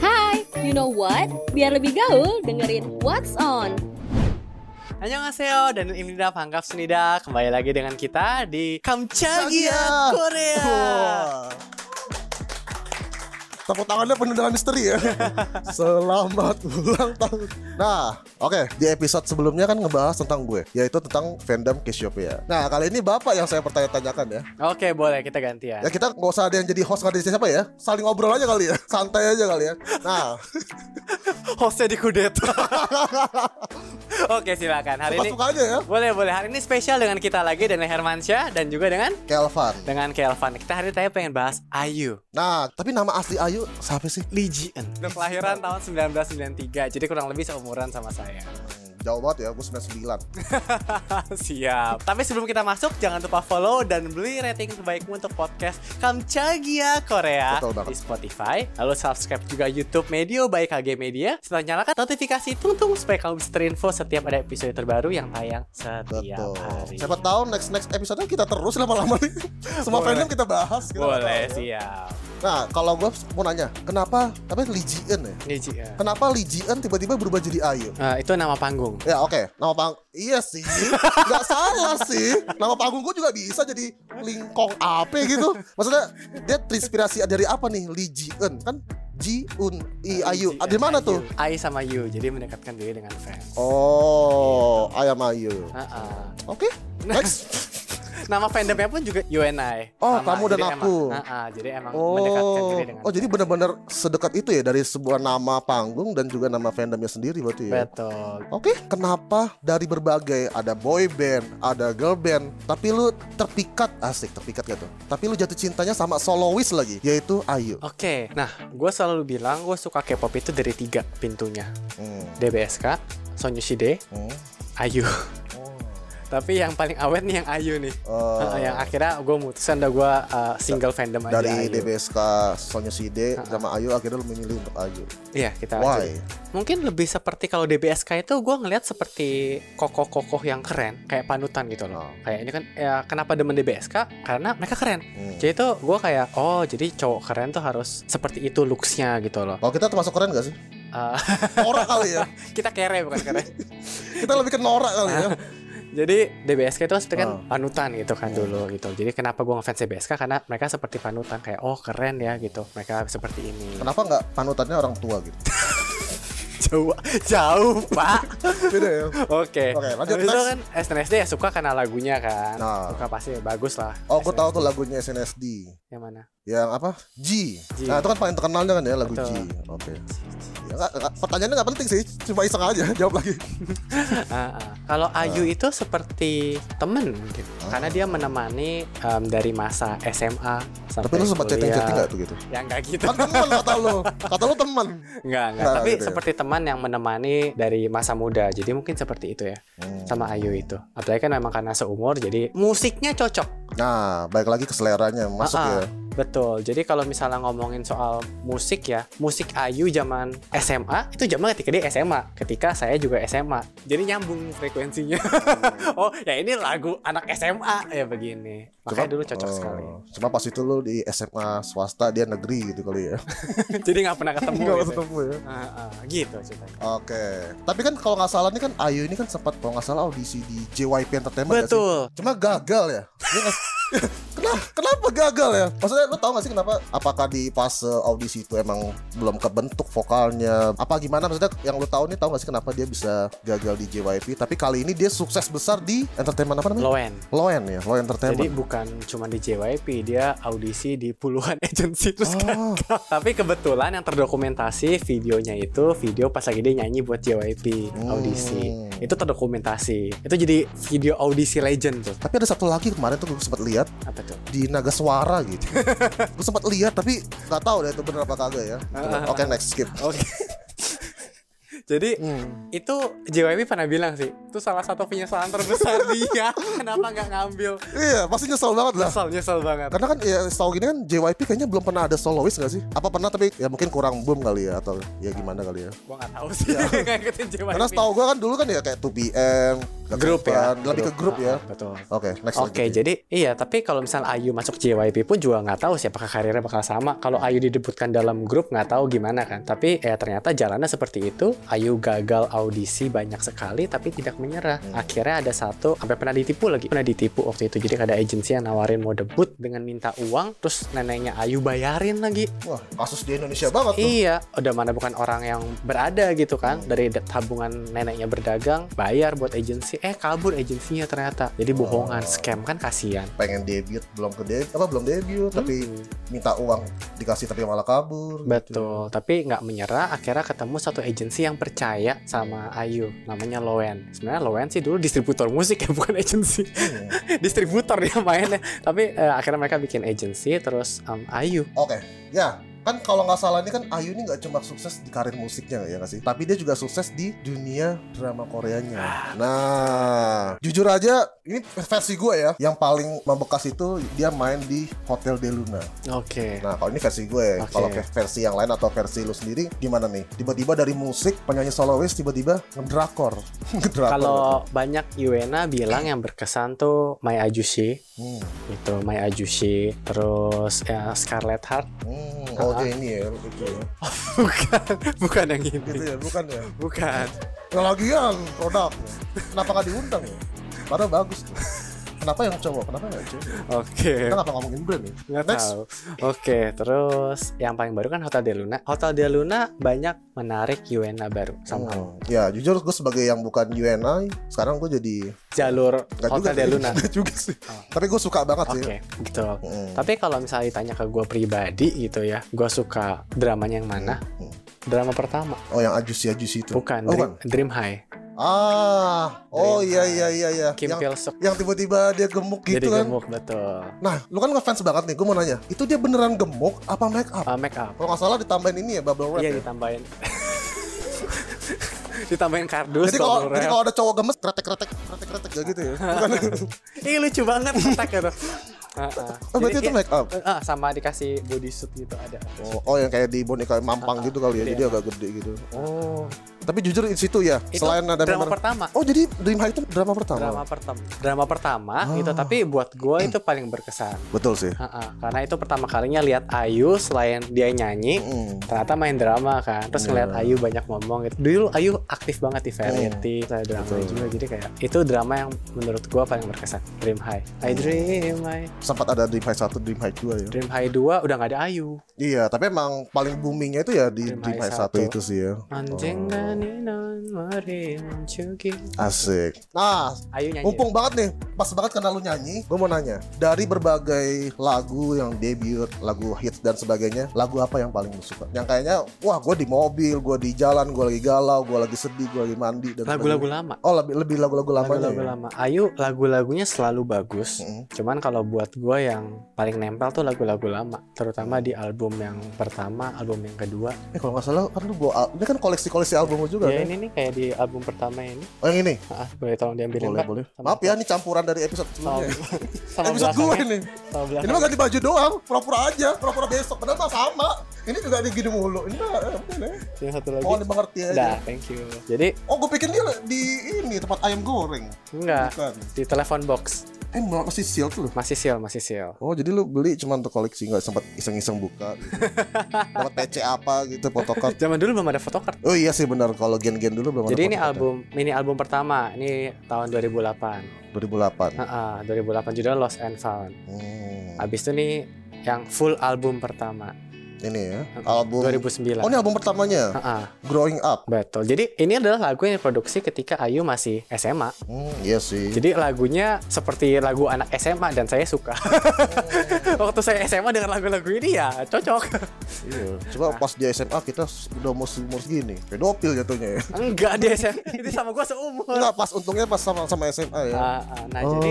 Hai, you know what? Biar lebih gaul, dengerin What's On. Annyeonghaseyo dan ini dah Pangkap Senida Kembali lagi dengan kita di Kamchagia Korea Wah. Tepuk tangannya penuh dengan misteri ya. Selamat ulang tahun. Nah, oke di episode sebelumnya kan ngebahas tentang gue, yaitu tentang fandom Cassiopeia. Nah kali ini bapak yang saya pertanya-tanyakan ya. Oke boleh kita gantian Ya kita nggak usah ada yang jadi host nggak ada yang siapa ya. Saling ngobrol aja kali ya, santai aja kali ya. Nah, Hostnya di kudeta Oke silakan hari ini suka aja ya. Boleh boleh hari ini spesial dengan kita lagi Dengan Hermansyah dan juga dengan Kelvan. dengan Kelvan Kita hari ini tanya pengen bahas Ayu Nah, tapi nama asli Ayu siapa sih? Lee Ji Eun Kelahiran tahun 1993 Jadi kurang lebih seumuran sama saya Hmm, Jauh banget ya, gue 99 Siap. Tapi sebelum kita masuk, jangan lupa follow dan beli rating terbaikmu untuk podcast Kamchagia Korea Betul banget. di Spotify. Lalu subscribe juga YouTube Medio by KG Media. Serta nyalakan notifikasi tung-tung supaya kamu bisa terinfo setiap ada episode terbaru yang tayang setiap Betul hari. Siapa tahu next next episode kita terus lama-lama nih Semua Boleh. fandom kita bahas kita nggak Boleh, tahu ya. siap. Nah kalau gue mau nanya Kenapa, tapi Lee Ji Eun ya? Ini Ji Eun. Kenapa Lee Ji Eun tiba-tiba berubah jadi Ayu? Eh, itu nama panggung. Ya oke, nama pang iya sih, nggak salah sih. Nama panggung gue juga bisa jadi Lingkong apa gitu. Maksudnya dia terinspirasi dari apa nih Lee Ji Eun kan? Ji Un I Ayu. Ji Ah, Eun, Di mana tuh? Ai sama Yu, jadi mendekatkan diri dengan fans. Oh, Ayam Ayu. Heeh. Oke, Nah. next. Nama fandomnya pun juga UNI. Oh, Sama, kamu dan jadi aku. Emang, Heeh, jadi emang mendekatkan Oh, diri dengan oh jadi benar-benar sedekat itu ya dari sebuah nama panggung dan juga nama fandomnya sendiri berarti ya. Betul. Oke, kenapa dari berbagai ada boy band, ada girl band, tapi lu terpikat asik terpikat gitu. Tapi lu jatuh cintanya sama solois lagi, yaitu Ayu. Oke, nah gue selalu bilang gue suka K-pop itu dari tiga pintunya Hmm. DBSK, Son Yoshide, Hmm. Ayu Oh. Tapi yang paling awet nih yang Ayu nih Eh, Heeh, Yang akhirnya gue mutusin udah gue single fandom aja dari ya. Ayu. Ah, DBSK Sonya Side sama Ayu akhirnya lu memilih untuk Ayu. Iya kita aja. Why? Mungkin lebih seperti kalau DBSK itu gue ngelihat seperti kokoh-kokoh yang keren Kayak panutan gitu loh Oh. Kayak ini kan ya, kenapa demen DBSK? Karena mereka keren Hmm. Jadi tuh gue kayak oh jadi cowok keren tuh harus seperti itu looksnya gitu loh Kalau Oh, kita termasuk keren gak sih? Eh, Norak kali ya. Kita kere bukan keren Kita lebih ke norak kali Ah. ya. Jadi DBSK itu seperti kan Oh. panutan gitu kan dulu gitu. Jadi kenapa gue ngefans DBSK karena mereka seperti panutan kayak oh keren ya gitu. Mereka seperti ini. Kenapa nggak panutannya orang tua gitu? Jauh jauh pak. Beda ya. Oke. Oke, lanjut, Habis itu next. kan SNSD ya suka karena lagunya kan. Nah. Suka pasti bagus lah. Oh, gue SNSD. tahu tuh lagunya SNSD. Yang mana? Yang apa? G. G. Nah, itu kan paling terkenalnya kan ya lagu Betul. G. Oke. Ya, nggak- nggak- pertanyaannya nggak penting sih, cuma iseng aja jawab lagi. Ah, ah. Kalau Nah. Ayu itu seperti temen gitu. Karena dia menemani em, dari masa SMA sampai Tapi lu sempat kuliah. chatting-chatting nggak tuh gitu? Ya nggak gitu. Kan teman kata lu, kata lu teman. Enggak, enggak. Nah, Tapi gitu ya. seperti teman yang menemani dari masa muda. Jadi mungkin seperti itu ya. Sama Hmm. Ayu itu. Apalagi kan memang karena seumur jadi musiknya cocok. Nah, baik lagi ke seleranya masuk Ah, ah. ya. Betul. Jadi kalau misalnya ngomongin soal musik ya, musik Ayu zaman SMA itu zaman ketika dia SMA, ketika saya juga SMA. Jadi nyambung frekuensinya. Hmm. oh, ya ini lagu anak SMA ya begini. Makanya dulu cocok oh, sekali. Cuma pas itu lu di SMA swasta dia negeri gitu kali ya. jadi nggak pernah ketemu Nggak gitu. ketemu ya. Ah, ah, gitu ceritanya. Oke, tapi kan kalau nggak salah nih kan Ayu ini kan sempat kalau nggak salah audisi di JYP Entertainment nggak sih? Betul. cuma gagal ya Dia nggak- Kenapa, kenapa gagal ya? Maksudnya lu tau gak sih kenapa? Apakah di fase audisi itu emang belum kebentuk vokalnya? Apa gimana? Maksudnya yang lu tahu nih tau gak sih kenapa dia bisa gagal di JYP? Tapi kali ini dia sukses besar di entertainment apa namanya? Loen. Loen ya, Jadi Loen Entertainment. bukan cuma di JYP, dia audisi di puluhan agensi terus Oh. gagal. Tapi kebetulan yang terdokumentasi videonya itu video pas lagi dia nyanyi buat JYP Hmm. audisi. Itu terdokumentasi. Itu jadi video audisi legend tuh. tapi ada satu lagi kemarin tuh gue sempat lihat Apa tuh? di Naga Suara gitu. gue sempat lihat tapi nggak tahu deh itu bener apa kagak ya. Oke next skip. Oke. jadi Oh. Hmm. itu JYP pernah bilang sih, itu salah satu penyesalan terbesar dia. Kenapa nggak ngambil? Iya pasti nyesel banget lah. Nyesel, nyesel banget. Karena kan ya setahu gini kan JYP kayaknya belum pernah ada solois gak sih? Apa pernah tapi ya mungkin kurang boom kali ya atau ya gimana kali ya. Gua nggak tahu sih, nggak ikutin JYP. Karena setahu gua kan dulu kan ya kayak 2PM, Gak Grup ya? kelihatan. Lebih ke grup ya. Ah, Betul. Oke, next Oke, lanjut. jadi iya, tapi kalau misal Ayu masuk JYP pun juga nggak tahu siapa karirnya bakal sama. Kalau Ayu didebutkan dalam grup nggak tahu gimana kan. Tapi ya ternyata jalannya seperti itu. Ayu gagal audisi banyak sekali tapi tidak menyerah. Hmm. Akhirnya ada satu sampai pernah ditipu lagi. Pernah ditipu waktu itu. Jadi ada agensi yang nawarin mau debut dengan minta uang terus neneknya Ayu bayarin lagi. Wah, kasus di Indonesia banget tuh. Iya, udah mana bukan orang yang berada gitu kan dari da- tabungan neneknya berdagang, bayar buat agensi, eh kabur agensinya ternyata. Jadi bohongan, Oh. scam kan kasihan. pengen debut belum ke debut apa belum debut tapi minta uang dikasih tapi malah kabur Hmm. Betul, tapi nggak menyerah. Akhirnya ketemu satu agensi yang percaya sama Ayu, namanya Loen. Sebenarnya Loen sih dulu distributor musik ya, bukan agensi. Hmm. distributor dia mainnya. Tapi eh, akhirnya mereka bikin agensi, terus em, Ayu. Oke, ya kan kalau nggak salah ini kan Ayu ini nggak cuma sukses di karir musiknya ya nggak sih, tapi dia juga sukses di dunia drama Koreanya. Nah, jujur aja ini versi gue ya, yang paling membekas itu dia main di Hotel De Luna. Oke. Nah, kalau ini versi gue, Oke. kalau ke- versi yang lain atau versi lu sendiri gimana nih? Tiba-tiba dari musik penyanyi solois tiba-tiba ngedrakor, ngedrakor. Kalau banyak Yuena bilang yang berkesan tuh Mai Ajushi Hmm, itu Mai Ajushi terus ya, Scarlet Heart hmm, oh dia ini ya, gitu ya, bukan bukan yang gitu ini ya, bukan ya? bukan Ya lagian produk Kenapa gak diundang ya? Padahal bagus tuh Kenapa yang cowok? Kenapa yang cowok? oke Kita kenapa ngomongin brand ya? nggak Next. tahu oke terus yang paling baru kan Hotel Del Luna Hotel Del Luna banyak menarik Yuena baru sama Hmm. Ya jujur gue sebagai yang bukan UNI Sekarang gue jadi jalur Nggak Hotel sih. Del Luna Nggak juga sih Oh. Tapi gue suka banget oke sih gitu Hmm. tapi kalau misalnya ditanya ke gue pribadi gitu ya gue suka dramanya yang mana Hmm. drama pertama Oh yang ajusi ajusi itu bukan Oh, Dream, Dream High Ah Oh Dream iya High. iya iya iya Kim yang, Pil Suk yang tiba-tiba dia gemuk gitu jadi kan gemuk betul Nah lu kan ngefans banget nih Gue mau nanya Itu dia beneran gemuk apa make up? Ah, make up Kalau nggak salah ditambahin ini ya bubble wrap Iya ya? ditambahin ditambahin kardus Jadi kalau bubble jadi wrap. kalau ada cowok gemes kretek-kretek kretek-kretek ya gitu ya. Bukan. Ih lucu banget otak gitu. Heeh. Oh, berarti Jadi itu make up. kayak- eh, sama dikasih bodysuit gitu ada. Oh, oh, yang kayak di boneka mampang gitu kali ya. Iya. Jadi agak gede gitu. Oh, Tapi jujur di situ ya, itu selain ada drama member- pertama. Oh, jadi Dream High itu drama pertama. Drama pertama. Drama pertama Ah. gitu tapi buat gue itu paling berkesan. Betul sih. Heeh, Karena itu pertama kalinya lihat Ayu selain dia nyanyi Mm. ternyata main drama kan terus ngeliat Iya. Ayu banyak ngomong gitu dulu Ayu aktif banget di variety saya drama Betul. juga jadi kayak itu drama yang menurut gua paling berkesan Dream High I Dream High Sempat ada Dream High 1, Dream High 2 ya. Dream High 2 udah gak ada Ayu Iya, tapi emang paling boomingnya itu ya di Dream, Dream High High satu. 1 itu sih ya. Anjing Oh. ganinan mari mencuki Asik. Nah, Ayu nyanyi mumpung banget nih, pas banget karena lu nyanyi, gue mau nanya, dari berbagai lagu yang debut, lagu hits dan sebagainya, lagu apa yang paling lu suka? Yang kayaknya, wah gue di mobil, gue di jalan, gue lagi galau, gue lagi sedih, gue lagi mandi dan lagu-lagu lama Oh lebih lebih lagu-lagu lama lagu-lagu lama Ayu lagu-lagunya selalu bagus Mm. cuman kalau buat gua yang paling nempel tuh lagu-lagu lama terutama di album yang pertama album yang kedua Eh kalau nggak salah kan lu bawa al- ini kan koleksi-koleksi album lu juga ya kan? ini nih kayak di album pertama ini Oh yang ini. ah, boleh tolong diambilin boleh Pak? boleh. Sama- Maaf ya ini campuran dari episode sama, sebelumnya. sama episode gue belakangnya ini. sama Ini belakang mah ganti baju doang, pura-pura aja, pura-pura besok. Padahal mah sama. Ini juga di gini mulu. Ini mah eh, udah deh. yang satu lagi Mohon dimengerti aja. dah thank you jadi Oh gue pikir dia di ini tempat ayam goreng. enggak Bukan. di telepon box Eh malah masih sealed tuh. masih seal masih seal Oh jadi lu beli cuma untuk koleksi nggak sempat iseng-iseng buka gitu. Dapat PC apa gitu photocard. zaman dulu belum ada photocard Oh iya sih benar kalau gen-gen dulu belum ada jadi ini photocard ya. album mini album pertama ini tahun 2008 ya. 2008. Heeh, 2008 judul Lost and Found Hmm. Habis itu nih yang full album pertama Ini ya, album 2009. Oh ini album pertamanya Heeh, Growing Up betul. Jadi ini adalah lagu yang diproduksi ketika Ayu masih SMA. hmm, Iya sih Jadi lagunya seperti lagu anak SMA dan saya suka. Waktu saya SMA dengan lagu-lagu ini ya cocok. iya. Coba pas di SMA kita s- udah umur umur segini Pedofil jatuhnya ya Enggak di SMA. Ini sama gua seumur. Enggak pas untungnya pas sama, sama SMA ya Ah, ah, nah oh. jadi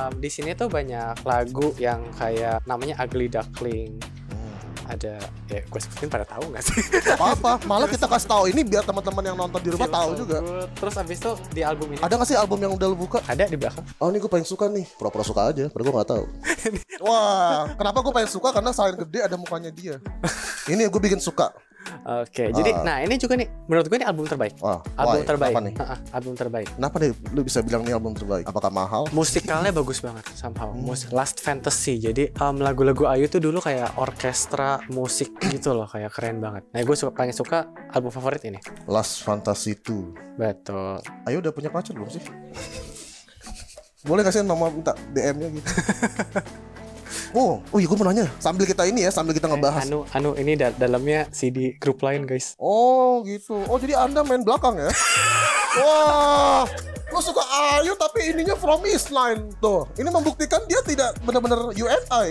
em, di sini tuh banyak lagu yang kayak namanya Ugly Duckling Hmm. ada ya gue sebutin pada tahu nggak sih Apa-apa Malah kita kasih tahu ini biar teman-teman yang nonton di rumah Feel tahu So juga Good. terus abis itu di album ini Ada gak sih album yang udah lu buka? ada di belakang Oh ini gue paling suka nih Pura-pura suka aja Padahal gue gak tahu. Wah Kenapa gue paling suka? Karena selain gede ada mukanya dia Ini gue bikin suka Oke, jadi Ah. nah ini juga nih menurut gue ini album terbaik. Wah, Album why? terbaik. Kenapa nih? Ha-ha, album terbaik. Kenapa nih lu bisa bilang nih album terbaik? Apakah mahal? Musikalnya bagus banget somehow. Mus- Last Fantasy. Jadi um, lagu-lagu Ayu tuh dulu kayak orkestra musik gitu loh, kayak keren banget. Nah, gue suka paling suka album favorit ini. Last Fantasy 2. Betul. Ayo udah punya pacar belum sih? Boleh kasih nomor minta DM-nya gitu. oh, oh iya gue mau nanya. Sambil kita ini ya, sambil kita ngebahas. Anu anu ini da- dalamnya CD grup lain, guys. Oh gitu. Oh jadi anda main belakang ya? Wah, lu suka Ayu tapi ininya from Island tuh. Ini membuktikan dia tidak benar-benar UFI.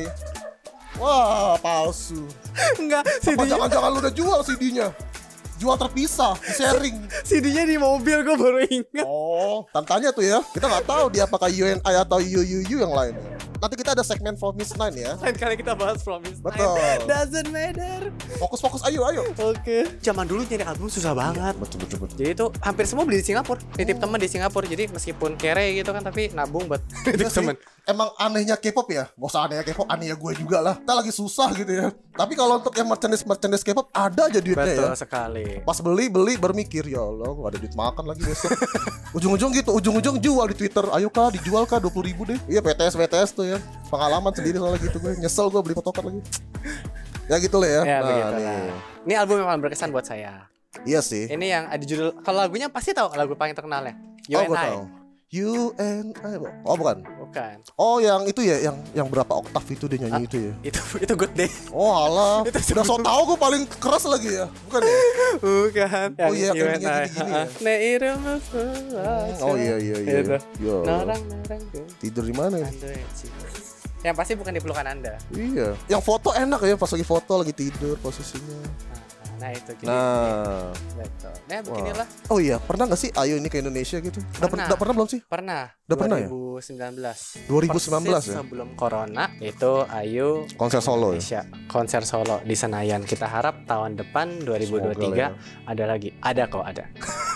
Wah palsu. Enggak, Apa jangan-jangan lu udah jual CD-nya? Jual terpisah, sharing. CD-nya di mobil gue baru ingat. Oh, tantanya tuh ya. Kita nggak tahu dia apakah UNI atau UUU yang lain. Nanti kita ada segmen from Island ya. Lain kali kita bahas Promise. Betul. Doesn't matter. Fokus-fokus Ayu, ayo. Oke. Zaman dulu nyari album susah banget. Betul, betul, betul. Jadi itu hampir semua beli di Singapura. Nitip Oh. teman di Singapura. Jadi meskipun kere gitu kan tapi nabung buat nitip Iya sih. teman. Emang anehnya K-pop ya? Gak usah anehnya K-pop, anehnya gue juga lah. Kita lagi susah gitu ya. Tapi kalau untuk yang merchandise-merchandise K-pop ada aja duitnya Betul ya. sekali. Pas beli beli bermikir ya Allah gak ada duit makan lagi besok. Ujung-ujung gitu, ujung-ujung jual di Twitter. Ayo kah dijual kah 20 ribu deh. Iya PTS PTS tuh ya. Pengalaman sendiri soalnya gitu gue. Nyesel gue beli photocard lagi. Ya gitu lah ya. Ya Nah, begitu lah. nih. Ini album yang paling berkesan buat saya. Iya sih. Ini yang ada judul kalau lagunya pasti tahu lagu paling terkenalnya. You oh and gue I. tahu. You and I. Oh bukan. Bukan. Oh yang itu ya yang yang berapa oktav itu dia nyanyi itu ya. Itu itu good day. Oh alah, Itu udah so tau gue paling keras lagi ya, bukan ya? Bukan. Oh iya, You kan and gini- I. gini-gini Ha-ha. ya. Neiru masulah. Oh iya iya iya. Gitu. Yo, Norang norang tuh. tidur di mana? ya? Android sih. Yang pasti bukan di pelukan Anda. Iya. Yang foto enak ya, pas lagi foto lagi tidur posisinya. Nah, itu jadi Nah, betul. Nah, wah. beginilah Oh iya, pernah nggak sih Ayu ini ke Indonesia gitu? Udah Pernah. pernah, udah pernah belum sih? pernah Udah pernah ya? 2019. 2019 Persis ya? Sebelum corona itu Ayu Konser solo ya. Indonesia konser solo di Senayan. Kita harap tahun depan 2023 Semoga lah ya. ada lagi. Ada kok ada.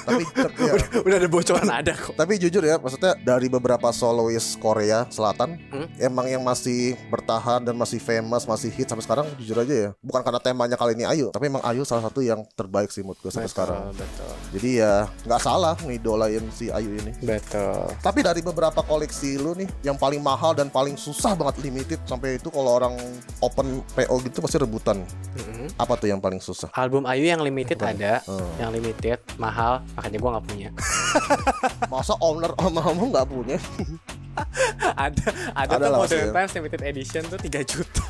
Tapi tetap ya. Udah ada bocoran ada kok. Tapi jujur ya, maksudnya dari beberapa solois Korea Selatan, Hmm? emang yang masih bertahan dan masih famous, masih hit sampai sekarang, jujur aja ya. Bukan karena temanya kali ini Ayu, tapi emang Ayu salah satu yang terbaik sih menurut gue sampai sekarang. betul. Jadi ya nggak salah ngidolain si Ayu ini. Betul. Tapi dari beberapa koleksi lu nih, yang paling mahal dan paling susah banget limited sampai itu kalau orang open PO gitu pasti rebutan. Mm-mm. Apa tuh yang paling susah? Album Ayu yang limited Apa? ada, Hmm. yang limited mahal, makanya gua nggak punya. Masa owner sama-sama nggak punya? ada ada, Ada tuh lah Modern maksudnya. Times limited edition tuh 3 juta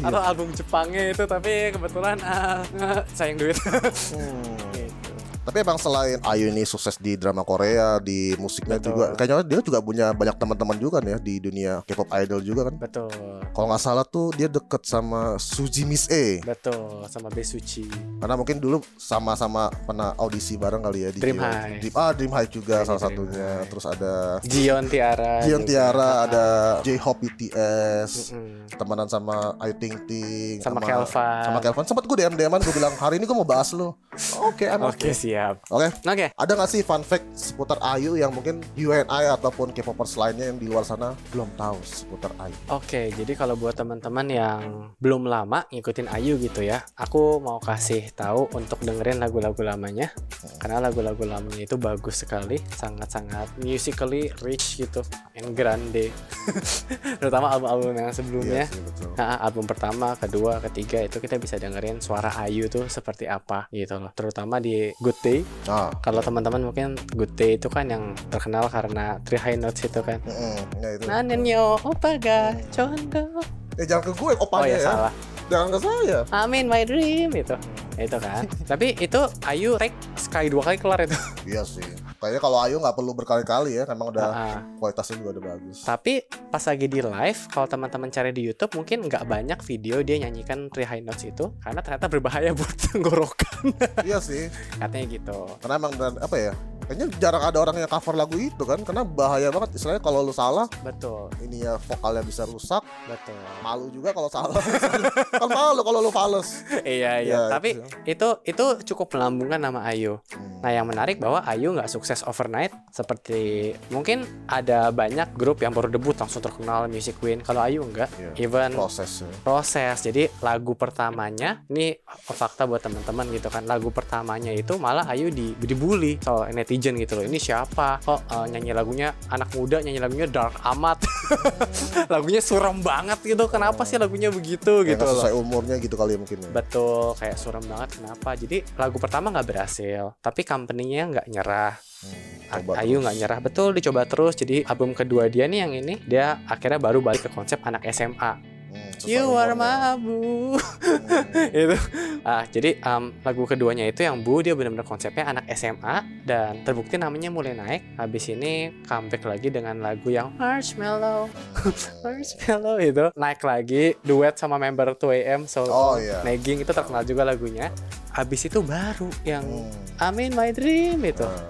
atau album Jepangnya itu tapi kebetulan ah, ah, sayang duit. Gitu. Hmm. Tapi emang selain Ayu ini sukses di drama Korea, di musiknya Betul. juga, kayaknya dia juga punya banyak teman-teman juga nih ya di dunia K-pop idol juga kan. Betul. Kalau nggak salah tuh dia deket sama Suji Miss A Betul sama Besuci. karena mungkin dulu sama-sama pernah audisi bareng kali ya di Dream JYP. High. Dream- ah Dream High juga Jadi salah Dream satunya. High. Terus ada Jion Tiara. Jion juga. Tiara, Ah, ada J-Hope BTS, mm-mm. temenan sama Ayu Ting Ting, Sama Kelvin. sama Kelvin. Sempat gue DM DM-an gue bilang hari ini gue mau bahas lo. Oke, I'm Oke okay. siap. Oke. Oke. Ada nggak sih fun fact seputar Ayu yang mungkin you and I ataupun K-popers lainnya yang di luar sana belum tahu seputar Ayu? Oke, jadi kalau buat teman-teman yang belum lama ngikutin Ayu gitu ya, aku mau kasih tahu untuk dengerin lagu-lagu lamanya. Karena lagu-lagu lamanya itu bagus sekali, sangat-sangat musically rich gitu and grande. Terutama album-album yang sebelumnya. Iya sih, betul. Nah, album pertama, kedua, ketiga itu kita bisa dengerin suara Ayu tuh seperti apa gitu loh. Terutama di Good Day. Nah, Kalau teman-teman mungkin Good Day itu kan yang terkenal karena Three High Notes itu kan. mm-mm, ya itu. Nanenyo opaga chondo. Eh jangan ke gue, Oh opanya ya, ya. salah. Jangan ke saya. I'm in my dream itu. Itu kan. Tapi itu Ayu rek sekali dua kali kelar itu. Iya sih. Kayaknya kalau Ayu nggak perlu berkali-kali ya, emang udah Ah, ah. kualitasnya juga udah bagus. Tapi pas lagi di live, kalau teman-teman cari di YouTube mungkin nggak banyak video dia nyanyikan Three High Notes itu karena ternyata berbahaya buat tenggorokan iya sih. katanya gitu. Karena emang dan apa ya? Kayaknya jarang ada orang yang cover lagu itu kan, karena bahaya banget. Istilahnya kalau lu salah, Betul, ini ya vokalnya bisa rusak. betul. Malu juga kalau salah. kan malu kalau lu fales. iya iya. Ya, Tapi itu. itu itu cukup melambungkan nama Ayu. Hmm. Nah yang menarik bahwa Ayu nggak sukses overnight seperti mungkin ada banyak grup yang baru debut langsung terkenal music queen. Kalau Ayu nggak, Iya. even prosesnya proses. Jadi lagu pertamanya, ini fakta buat teman-teman gitu kan. Lagu pertamanya itu malah Ayu di dibully soal netizen gitu loh. Ini siapa? Kok eh, nyanyi lagunya anak muda, nyanyi lagunya dark amat. lagunya suram banget gitu. Kenapa sih lagunya begitu Kayak gitu nggak loh. sesuai umurnya gitu kali ya mungkin ya. Betul, kayak suram banget kenapa. Jadi lagu pertama nggak berhasil, tapi company-nya nggak nyerah. Hmm, A- coba Ayu terus. nggak nyerah betul dicoba terus jadi album kedua dia nih yang ini dia akhirnya baru balik ke konsep anak SMA Hmm, sesuai You are my umurnya. boo Hmm. itu ah jadi em, lagu keduanya itu yang bu dia benar-benar konsepnya anak SMA dan terbukti namanya mulai naik habis ini comeback lagi dengan lagu yang marshmallow marshmallow itu naik lagi duet sama member 2AM so Oh iya. nagging itu terkenal juga lagunya habis itu baru yang Hmm. I'm in my dream itu Nah,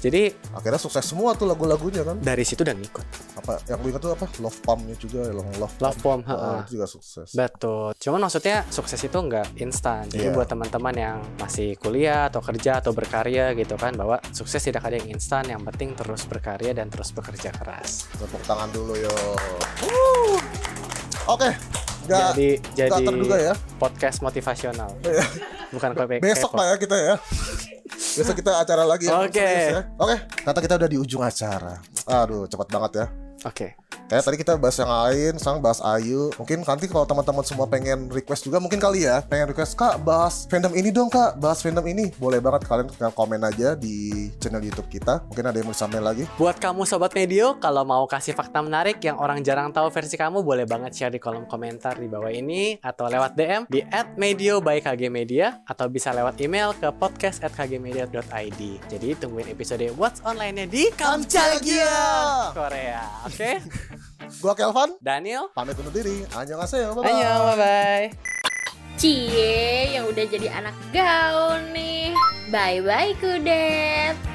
jadi akhirnya sukses semua tuh lagu-lagunya kan. dari situ udah ngikut Apa yang gue ingat tuh apa? Love Pumpnya juga, yang Love Pump. Love Bomb heeh. Ah, itu juga sukses. Betul. Cuman maksudnya sukses itu nggak instan. Jadi Iya. buat teman-teman yang masih kuliah atau kerja atau berkarya gitu kan bahwa sukses tidak ada yang instan, yang penting terus berkarya dan terus bekerja keras. Tepuk tangan dulu yo. Wuh. Oke, nggak jadi nggak jadi terduga ya. Iya. podcast motivasional. Bukan KPK. Besok lah ya kita ya. Besok kita acara lagi ya. Oke. serius ya. Oke, ternyata kita udah di ujung acara. Aduh, cepat banget ya. Oke. Kayak tadi kita bahas yang lain, sekarang bahas Ayu. Mungkin nanti kalau teman-teman semua pengen request juga, mungkin kali ya, pengen request kak bahas fandom ini dong kak, bahas fandom ini. Boleh banget kalian tinggal komen aja di channel YouTube kita. Mungkin ada yang mau disampaikan lagi. Buat kamu sobat medio, kalau mau kasih fakta menarik yang orang jarang tahu versi kamu, boleh banget share di kolom komentar di bawah ini atau lewat DM di @medio by KG Media atau bisa lewat email ke podcast@kgmedia.id. Jadi tungguin episode What's Online-nya di Kamchagia Korea. Oke? Gua Kelvin, Daniel, pamit undur diri. Annyeonghaseyo. Bye-bye. ayo bye-bye. Cie, yang udah jadi anak gaul nih. Bye-bye kudet.